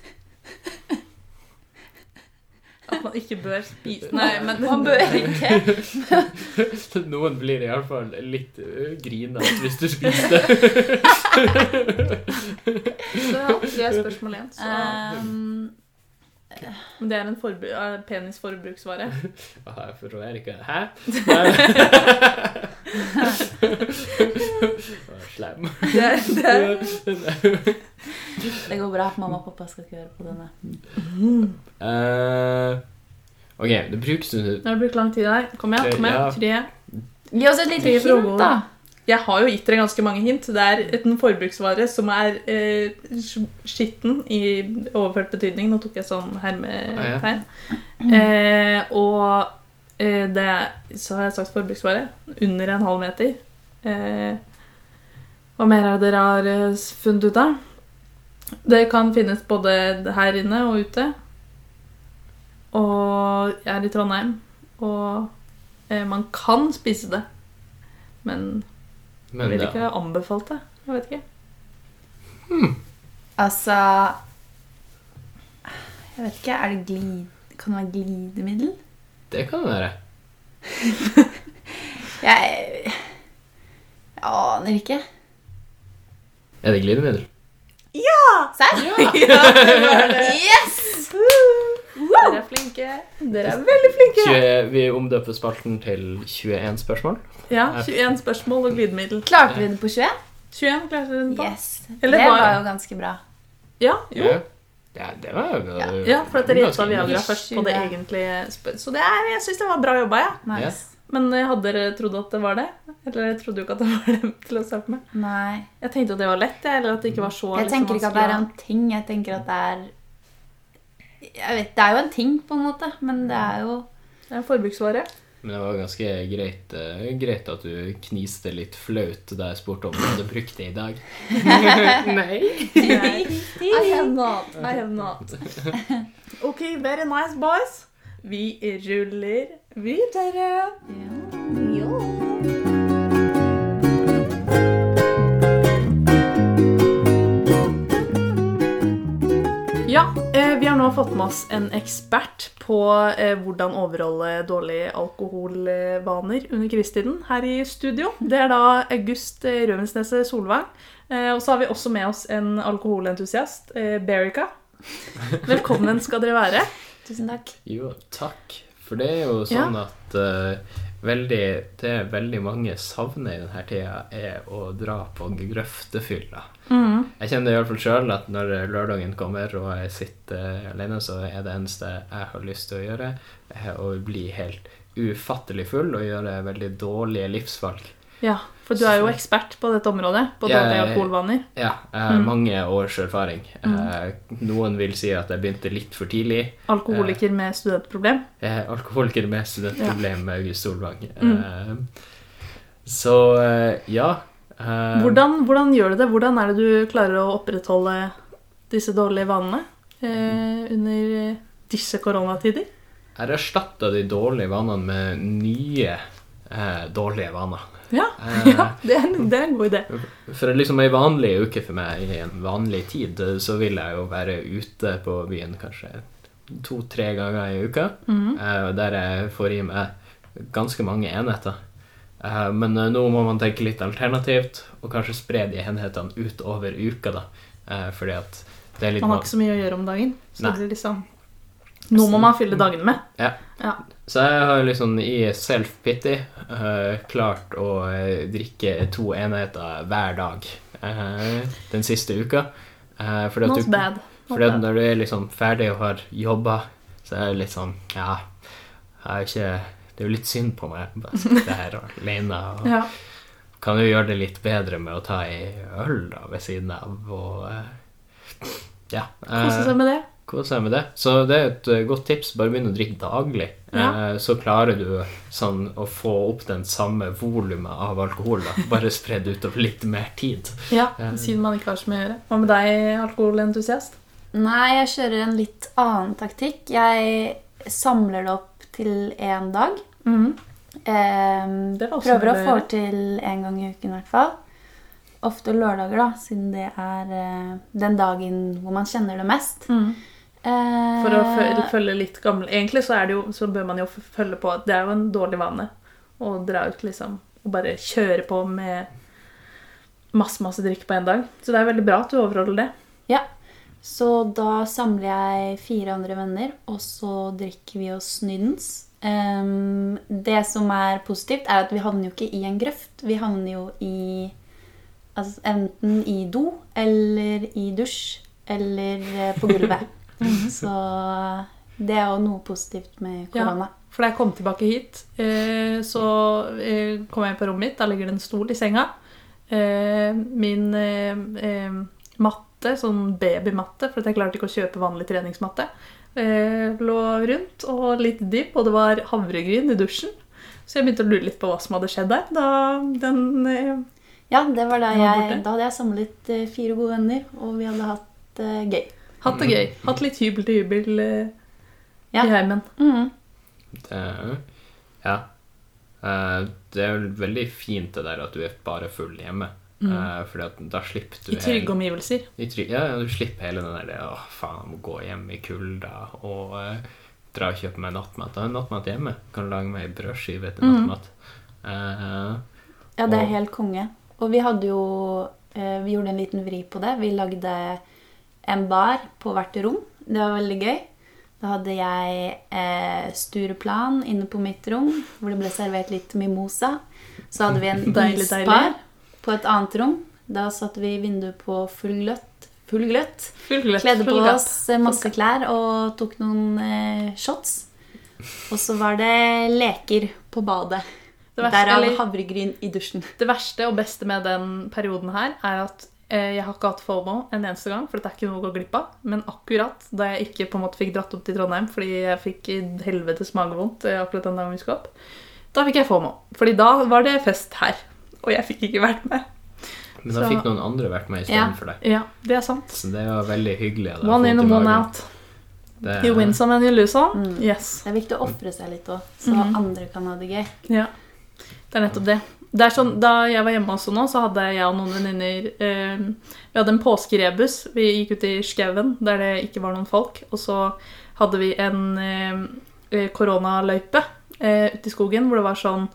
Speaker 1: At man ikke bør spise
Speaker 2: Nei, men man bør ikke.
Speaker 3: Noen blir iallfall litt ø, grinete hvis du spiser det.
Speaker 1: Så ja, det er spørsmål én. så-
Speaker 2: Um,
Speaker 1: Eh, Men det er en forbru eh, penisforbruksvare.
Speaker 3: Aha, jeg forstår ikke. Hæ? Nei. Å, Slem.
Speaker 1: Det er, det er.
Speaker 2: det går bra. Mamma og pappa skal ikke høre på denne.
Speaker 3: Eh, ok, det brukes
Speaker 1: Nå har det brukt lang tid her. Kom igjen. kom igjen. Tre.
Speaker 2: Gi oss et lite
Speaker 1: Tre
Speaker 2: hint,
Speaker 1: frågor.
Speaker 2: da.
Speaker 1: Jeg har jo gitt dere ganske mange hint. Det er et- en forbruksvare som er eh, sk- skitten i overført betydning. Nå tok jeg sånn hermetegn. Eh, og eh, det er, så har jeg sagt forbruksvare. Under en halv meter. Eh, hva mer er det dere har eh, funnet ut av? Det kan finnes både her inne og ute. Og jeg er i Trondheim. Og eh, man kan spise det. Men jeg
Speaker 3: Men
Speaker 1: vil
Speaker 3: det,
Speaker 1: ikke anbefalt det. Jeg vet ikke.
Speaker 2: Altså Jeg vet ikke. Er det glid... Kan det være glidemiddel?
Speaker 3: det kan det være.
Speaker 2: Jeg Jeg aner ikke.
Speaker 3: Er det glidemiddel?
Speaker 2: Serr? Yes!
Speaker 1: Dere er flinke. Dere er veldig flinke.
Speaker 3: 20, vi omdøper spalten til 21 spørsmål.
Speaker 1: Ja, 21 spørsmål og glidemiddel.
Speaker 2: Klarte vi det på 21?
Speaker 1: 21 klarte dere den på?
Speaker 2: Yes.
Speaker 1: Eller
Speaker 2: det
Speaker 1: var-
Speaker 2: var jo ganske bra.
Speaker 1: Ja, jo.
Speaker 3: Ja. ja, det var jo
Speaker 1: Ja, for at dere gjetta
Speaker 3: ganske-
Speaker 1: Viagra først på det egentlige spør- Så det er, jeg syns det var bra jobba, jeg.
Speaker 2: Nice.
Speaker 1: Men eh, hadde dere trodd at det var det? Eller jeg trodde jo ikke at det var det til å starte med.
Speaker 2: Nei.
Speaker 1: Jeg tenkte at det var lett, jeg, eller at det ikke var så liksom
Speaker 2: Jeg tenker ikke at det er en ting. Jeg tenker at det er jeg vet, Det er jo en ting, på en måte, men det er jo
Speaker 1: Det er en forbruksvare.
Speaker 3: Men det var ganske greit, eh, greit at du kniste litt flaut da jeg spurte om du hadde brukt det i dag. Nei.
Speaker 1: I have not. I have not. OK, very nice, boys. Vi ruller videre. Ja, eh, vi har nå fått med oss en ekspert på eh, hvordan overholde dårlige alkoholvaner under krisetiden her i studio. Det er da August eh, Røvensneset Solvang. Eh, og så har vi også med oss en alkoholentusiast, eh, Berica. Velkommen skal dere være.
Speaker 2: Tusen takk.
Speaker 3: Jo, takk. For det er jo sånn at eh, veldig, det veldig mange savner i denne tida, er å dra på grøftefylla. Jeg kjenner det iallfall sjøl at når lørdagen kommer og jeg sitter alene, så er det eneste jeg har lyst til å gjøre, er å bli helt ufattelig full og gjøre veldig dårlige livsvalg.
Speaker 1: Ja, For du er jo ekspert på dette området. På
Speaker 3: Jeg-
Speaker 1: dårlige alkoholvaner.
Speaker 3: Ja, jeg har mange års erfaring. Eh, Noen vil si at jeg begynte litt for tidlig.
Speaker 1: Alkoholiker med studentproblem.
Speaker 3: Jeg er alkoholiker med studentproblem med August Solvang. Eh, Så eh, ja. eh,
Speaker 1: Hvordan, hvordan gjør du det? Hvordan er det du klarer å opprettholde disse dårlige vanene eh, under eh, disse koronatider?
Speaker 3: Jeg har erstatta de dårlige vanene med nye eh, dårlige vaner.
Speaker 1: Ja,
Speaker 3: Eh.
Speaker 1: ja det, er, en- det er en god idé.
Speaker 3: For liksom ei vanlig uke for meg i en vanlig tid, eh, så vil jeg jo være ute på byen kanskje to-tre ganger i uka.
Speaker 1: Mhm.
Speaker 3: eh, Der jeg får i meg ganske mange enheter. Eh, Men eh, nå må man tenke litt alternativt, og kanskje spre de enhetene utover uka, da. Eh, Fordi at det er litt
Speaker 1: Man har
Speaker 3: van-
Speaker 1: ikke så mye å gjøre om dagen. Så
Speaker 3: Nei.
Speaker 1: det blir liksom Nå må man fylle dagene med.
Speaker 3: Ja.
Speaker 1: Ja.
Speaker 3: Så jeg har liksom i self-pity eh, klart å eh, drikke to enheter hver dag eh, den siste uka. Eh, fordi at
Speaker 1: Not
Speaker 3: du,
Speaker 1: bad. Not
Speaker 3: fordi at
Speaker 1: bad.
Speaker 3: når du er liksom ferdig og har jobba, så er det litt sånn Ja, jeg er ikke Det er jo litt synd på meg. Bare sitte her alene. Og
Speaker 1: Ja.
Speaker 3: kan jo gjøre det litt bedre med å ta ei øl da ved siden av og eh, Ja.
Speaker 1: Kose
Speaker 3: eh,
Speaker 1: seg med det.
Speaker 3: Kos deg med det. Så det er et eh, godt tips. Bare begynn å drikke daglig.
Speaker 1: Ja.
Speaker 3: Eh, så klarer du sånn å få opp den samme volumet av alkohol. Da. Bare spredd utover litt mer tid.
Speaker 1: Ja,
Speaker 3: Ja.
Speaker 1: Siden man ikke har så mye å gjøre. Hva med deg, alkoholentusiast?
Speaker 2: Nei, jeg kjører en litt annen taktikk. Jeg samler det opp til én dag. Ehm,
Speaker 1: Mm. Det var også
Speaker 2: prøver å
Speaker 1: mulig å
Speaker 2: få
Speaker 1: gjøre.
Speaker 2: til en gang i uken i hvert fall. Ofte lørdager, da, siden det er eh, den dagen hvor man kjenner det mest. Eh,
Speaker 1: Mm. For å fø- følge litt gammel Egentlig så, er det jo, så bør man jo f- følge på at det er jo en dårlig vane å dra ut liksom og bare kjøre på med masse, masse drikke på én dag. Så det er veldig bra at du overholder det.
Speaker 2: Ja. Så da samler jeg fire andre venner, og så drikker vi oss nydens. Ehm, det som er positivt, er at vi havner jo ikke i en grøft. Vi havner jo i altså, Enten i do, eller i dusj, eller eh, på gulvet. så det er jo noe positivt med korona.
Speaker 1: For da jeg kom tilbake hit, eh, så eh, kom jeg på rommet mitt. Der ligger det en stol i senga. Eh, min eh, eh, matte, sånn babymatte, for at jeg klarte ikke å kjøpe vanlig treningsmatte, eh, lå rundt og litt dyp, og det var havregryn i dusjen. Så jeg begynte å lure litt på hva som hadde skjedd der. Da den eh,
Speaker 2: Ja, det var da
Speaker 1: Den var
Speaker 2: jeg
Speaker 1: borte.
Speaker 2: Da hadde jeg samlet eh, fire gode venner, og vi hadde hatt eh, gøy.
Speaker 1: Hatt det gøy. Hatt litt hybel til hybel eh,
Speaker 2: Ja.
Speaker 1: i heimen.
Speaker 2: Mhm.
Speaker 3: Det, ja. Eh, det er vel veldig fint det der at du er bare full hjemme. Eh, fordi at da slipper du
Speaker 1: Mm. I trygge
Speaker 3: hele-
Speaker 1: omgivelser.
Speaker 3: I tryg- ja, ja, du slipper hele den der Å, faen, jeg må gå hjem i kulda og eh, dra og kjøpe meg nattmat. Da har jeg nattmat hjemme. Kan lage meg ei brødskive til
Speaker 1: Mm.
Speaker 3: nattmat. Eh,
Speaker 2: Ja, det
Speaker 3: Og-
Speaker 2: er helt konge. Og vi hadde jo eh, Vi gjorde en liten vri på det. Vi lagde en bar på hvert rom. Det var veldig gøy. Da hadde jeg eh, Stureplan inne på mitt rom, hvor det ble servert litt mimosa. Så hadde vi en
Speaker 1: Deilig, deilig.
Speaker 2: isbar på et annet rom. Da satte vi vinduet på full gløtt. Full gløtt.
Speaker 1: Full gløtt.
Speaker 2: Kledde på
Speaker 1: full kapp.
Speaker 2: oss eh, masse klær og tok noen eh, shots. Og så var det leker på badet.
Speaker 1: Det verste,
Speaker 2: Derav
Speaker 1: eller-
Speaker 2: havregryn i dusjen.
Speaker 1: Det verste og beste med den perioden her er at eh, jeg har ikke hatt FOMO en eneste gang, for det er ikke noe å gå glipp av. Men akkurat da jeg ikke på en måte fikk dratt opp til Trondheim fordi jeg fikk i helvetes magevondt eh, akkurat den dagen vi skulle opp, da fikk jeg FOMO. Fordi da var det fest her, og jeg fikk ikke vært med.
Speaker 3: Men da
Speaker 1: Så-
Speaker 3: fikk noen andre vært med
Speaker 2: Ja.
Speaker 3: istedenfor deg.
Speaker 1: Ja, det er sant.
Speaker 3: Så det var veldig hyggelig. av deg å
Speaker 1: One
Speaker 3: få
Speaker 1: in
Speaker 3: til
Speaker 1: and one
Speaker 3: magen.
Speaker 1: out.
Speaker 3: Det-
Speaker 1: You win some and you lose some.
Speaker 2: Mm.
Speaker 1: Yes.
Speaker 2: Det er viktig å ofre seg litt òg, så
Speaker 1: Mhm.
Speaker 2: andre kan ha det gøy.
Speaker 1: Ja, det er nettopp det. Det er sånn, Da jeg var hjemme også nå, så hadde jeg og noen venninner eh, Vi hadde en påskerebus. Vi gikk ut i skauen der det ikke var noen folk. Og så hadde vi en eh, koronaløype eh, ute i skogen hvor det var sånn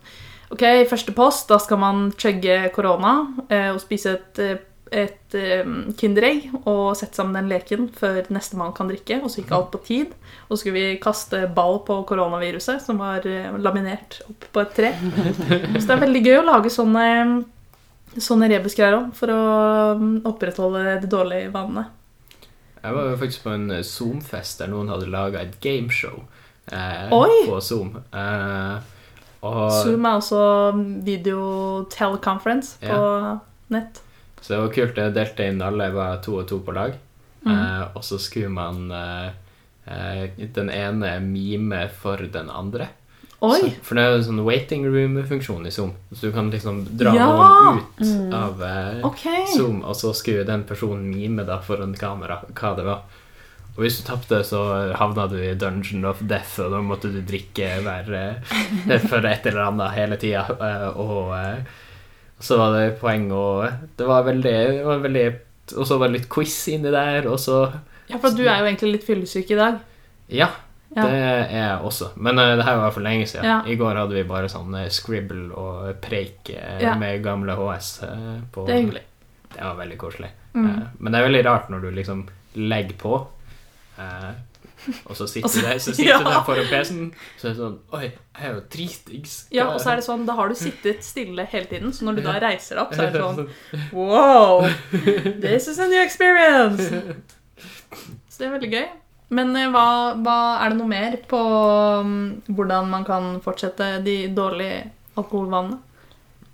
Speaker 1: OK, første post, da skal man chugge korona eh, og spise et, eh, et eh, Kinderegg og sette sammen den leken før nestemann kan drikke. Og så gikk alt på tid. Og så skulle vi kaste ball på koronaviruset, som var eh, laminert opp på et tre. Så det er veldig gøy å lage sånne, sånne rebusgreier òg, for å mm, opprettholde de dårlige vanene.
Speaker 3: Jeg var jo faktisk på en eh, Zoom-fest der noen hadde laga et gameshow eh,
Speaker 1: Oi!
Speaker 3: på Zoom. Eh, og,
Speaker 1: Zoom er også mm, video teleconference på nett.
Speaker 3: Så det var kult. Jeg delte inn alle var to og to på lag.
Speaker 1: Mm.
Speaker 3: Eh, og så skulle man eh, eh, den ene mime for den andre. Så,
Speaker 1: Oi!
Speaker 3: for det er jo en sånn waiting room-funksjon i Zoom. Så du kan liksom dra
Speaker 1: Ja! Mm.
Speaker 3: noen ut av eh,
Speaker 1: Ok!
Speaker 3: Zoom, og så skulle den personen mime da foran kamera hva det var. Og hvis du tapte, så havna du i Dungeon of Death, og da måtte du drikke hver, eh, for et eller annet hele tida. eh, Og eh, så var det poeng, og det var veldig, det var veldig Og så var det litt quiz inni der, og så
Speaker 1: Ja, for du er jo egentlig litt fyllesyk i dag.
Speaker 3: Ja.
Speaker 1: Ja.
Speaker 3: Det er jeg også. Men eh, det her var for lenge siden.
Speaker 1: Ja.
Speaker 3: I går hadde vi bare sånn eh, scribble og preik eh,
Speaker 1: Ja.
Speaker 3: med gamle HS. eh, på,
Speaker 1: Det er hyggelig.
Speaker 3: Det var veldig koselig.
Speaker 1: Mm.
Speaker 3: Eh, men det er veldig rart når du liksom legger på, eh, og så sitter
Speaker 1: Og så-
Speaker 3: du der, så sitter du
Speaker 1: Ja.
Speaker 3: der foran PC-en, så er det sånn Oi, jeg er jo dritings.
Speaker 1: Ja, og så er det sånn, Da har du sittet stille hele tiden, så når du da reiser deg opp, så er det sånn
Speaker 3: sånn
Speaker 1: Wow! This is a new experience! Så det er veldig gøy. Men eh, hva, hva er det noe mer på mm, hvordan man kan fortsette de dårlige alkoholvanene?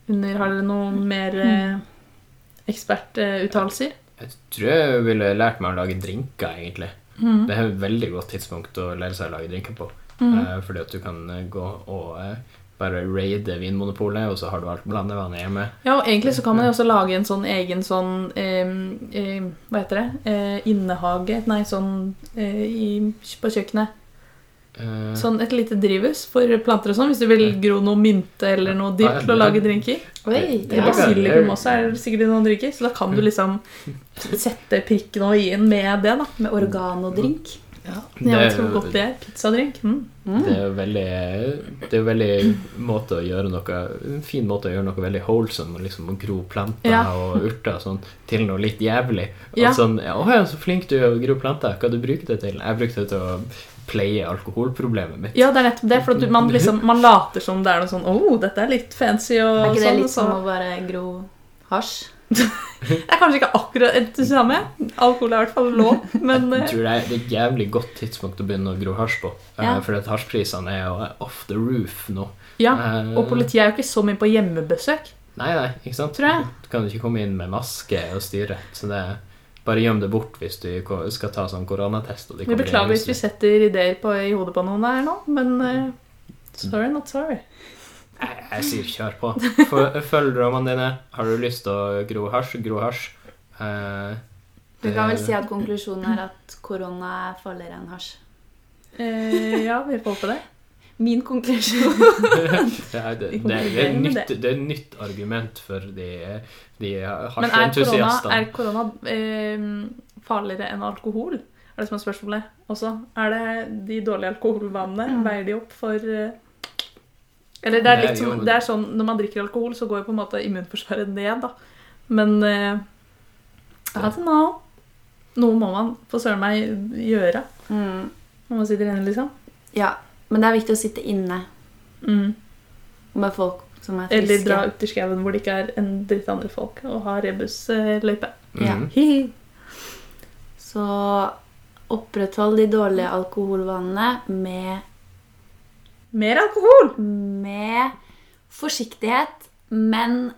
Speaker 1: Under, har dere noe mer eh, ekspertuttalelser?
Speaker 3: Jeg tror jeg ville lært meg å lage drinker, egentlig.
Speaker 1: Mm.
Speaker 3: Det er et veldig godt tidspunkt å lære seg å lage drinker på. Eh, fordi at du kan eh, gå og eh, bare raide Vinmonopolet, og så har du alt blandevannet hjemme.
Speaker 1: Ja, og egentlig så kan man jo også lage en sånn egen sånn em, em, Hva heter det? Eh, innehage Nei, sånn eh, i, på kjøkkenet.
Speaker 3: Eh,
Speaker 1: Sånn et lite drivhus for planter og sånn, hvis du vil gro noe mynte eller noe
Speaker 3: Ja,
Speaker 1: dill til å
Speaker 3: ja.
Speaker 1: lage drinker.
Speaker 2: Oi,
Speaker 3: Det
Speaker 1: I
Speaker 3: er Mm.
Speaker 2: ja.
Speaker 3: bra.
Speaker 1: basilikum også er det sikkert noen drikker, så da kan du liksom sette prikken og i-en med det, da.
Speaker 2: Med organodrink.
Speaker 1: Jeg vet ikke
Speaker 3: Mm. Det-
Speaker 1: hvor godt det er. Pizzadrink. Mm.
Speaker 3: Det er jo veldig Det er jo veldig måte å gjøre noe En fin måte å gjøre noe veldig wholesome, og liksom å gro planter
Speaker 1: Ja.
Speaker 3: og urter og sånn, til noe litt jævlig. Og
Speaker 1: Ja.
Speaker 3: sånn ja, 'Å ja, så flink du er å gro planter. Hva du bruker det til?' Jeg brukte det til å pleie alkoholproblemet mitt.
Speaker 1: Ja, det er nettopp det, for at du, man, liksom, man later som det er noe sånn Å, oh, dette er litt fancy
Speaker 2: Er
Speaker 1: og
Speaker 2: ikke det
Speaker 1: sånn.
Speaker 2: litt
Speaker 1: så.
Speaker 2: som å bare gro hasj?
Speaker 1: Det er kanskje ikke akkurat det samme. Alkohol er i hvert fall lov, men
Speaker 3: Jeg
Speaker 1: eh,
Speaker 3: tror det er det er et jævlig godt tidspunkt å begynne å gro hasj på.
Speaker 2: Ja.
Speaker 3: Eh, For at hasjprisene er jo off the roof nå.
Speaker 1: ja.
Speaker 3: Eh,
Speaker 1: Og politiet er jo ikke så mye på hjemmebesøk,
Speaker 3: Nei, nei, ikke sant?
Speaker 1: tror jeg.
Speaker 3: Du kan jo ikke komme inn med maske og styre. Så det er bare gjem det bort hvis du ko- skal ta sånn koronatest. Og
Speaker 1: Vi
Speaker 3: de kommer
Speaker 1: beklager
Speaker 3: inn i
Speaker 1: hvis vi
Speaker 3: huset.
Speaker 1: setter ideer på, i hodet på noen her nå, men
Speaker 3: Mm.
Speaker 1: eh, sorry, not sorry.
Speaker 3: Nei, Jeg sier kjør på. Fø- Følg drømmene dine. Har du lyst til å gro hasj, gro hasj. Eh,
Speaker 2: Du
Speaker 3: det-
Speaker 2: kan vel si at konklusjonen er at korona er farligere enn hasj.
Speaker 1: Eh, ja, vi får håpe det.
Speaker 2: Min konklusjon.
Speaker 3: Det er, det,
Speaker 1: Vi
Speaker 3: det, er, det,
Speaker 1: konkluderer
Speaker 3: er
Speaker 1: med
Speaker 3: nytt, det er et nytt argument for de, de
Speaker 1: Men er korona,
Speaker 3: hasjentusiastene.
Speaker 1: er korona eh, farligere enn alkohol? Er det som er spørsmålet også. Er det de dårlige alkoholvanene? Veier de opp for eh, Eller det er
Speaker 3: Mm. Det er
Speaker 1: litt som
Speaker 3: jo-
Speaker 1: Det er sånn når man drikker alkohol, så går jo på en måte immunforsvaret ned, da. Men eh, I don't know. Noe må man for søren meg gjøre
Speaker 2: Mm.
Speaker 1: når man sitter inne, liksom.
Speaker 2: Ja, men det er viktig å sitte inne
Speaker 1: Mm.
Speaker 2: med folk som er friske.
Speaker 1: Eller dra ut i skauen hvor det ikke er en dritt andre folk, og ha rebusløype.
Speaker 2: ja.
Speaker 3: Mhm.
Speaker 1: Hihi.
Speaker 2: Så oppretthold de dårlige alkoholvanene med,
Speaker 1: Mer alkohol!
Speaker 2: med Forsiktighet, men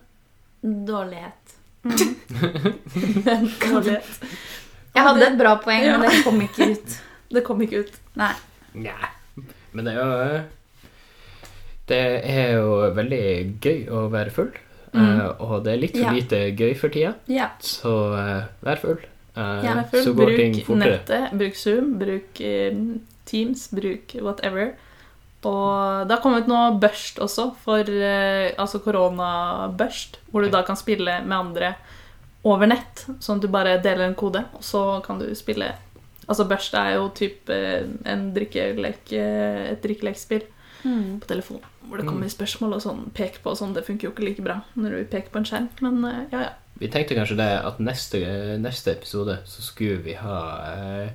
Speaker 2: dårlighet.
Speaker 1: Men dårlig.
Speaker 2: Jeg hadde et bra poeng,
Speaker 1: Ja.
Speaker 2: men det kom ikke ut.
Speaker 1: Det kom ikke ut.
Speaker 2: Nei.
Speaker 3: Nja. Men det er jo eh, Det er jo veldig gøy å være full. eh,
Speaker 1: Mhm.
Speaker 3: Og det er litt for
Speaker 2: Ja.
Speaker 3: lite gøy for tida,
Speaker 2: Ja.
Speaker 3: så eh, vær full. Eh,
Speaker 2: Ja,
Speaker 1: Vær full,
Speaker 3: så går ting
Speaker 1: bruk
Speaker 3: fortere.
Speaker 1: nettet, bruk Zoom, bruk eh, Teams, bruk whatever. Og det har kommet noe børst også, for eh, altså koronabørst, hvor du da kan spille med andre over nett, sånn at du bare deler en kode, og så kan du spille Altså børst er jo typ eh, en drikkelek, eh, et drikkelekspill
Speaker 2: Mm.
Speaker 1: på telefon, hvor det kommer spørsmål og sånn, pek på og sånn. Det funker jo ikke like bra når du peker på en skjerm, men eh, ja, ja.
Speaker 3: Vi tenkte kanskje det at neste, neste episode så skulle vi ha eh,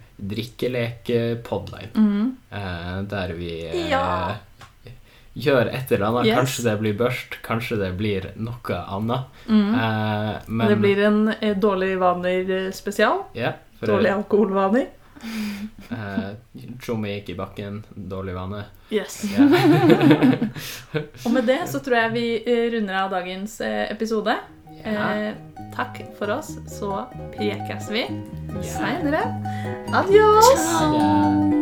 Speaker 3: drikkelek-podline.
Speaker 1: Mm.
Speaker 3: Eh, der vi eh,
Speaker 1: Ja.
Speaker 3: gjør et eller annet.
Speaker 1: Yes.
Speaker 3: Kanskje det blir børst, kanskje det blir noe annet. Eh, men
Speaker 1: Mm. det blir en eh, dårlig vaner-spesial.
Speaker 3: ja, for,
Speaker 1: Dårlige alkoholvaner.
Speaker 3: eh, Tjommi gikk i bakken, dårlig vane.
Speaker 1: Yes.
Speaker 3: Ja.
Speaker 1: Og med det så tror jeg vi eh, runder av dagens eh, episode.
Speaker 3: Ja.
Speaker 1: Eh, takk for oss, så prekes vi
Speaker 3: Ja.
Speaker 1: seinere. Adios!
Speaker 3: Ja.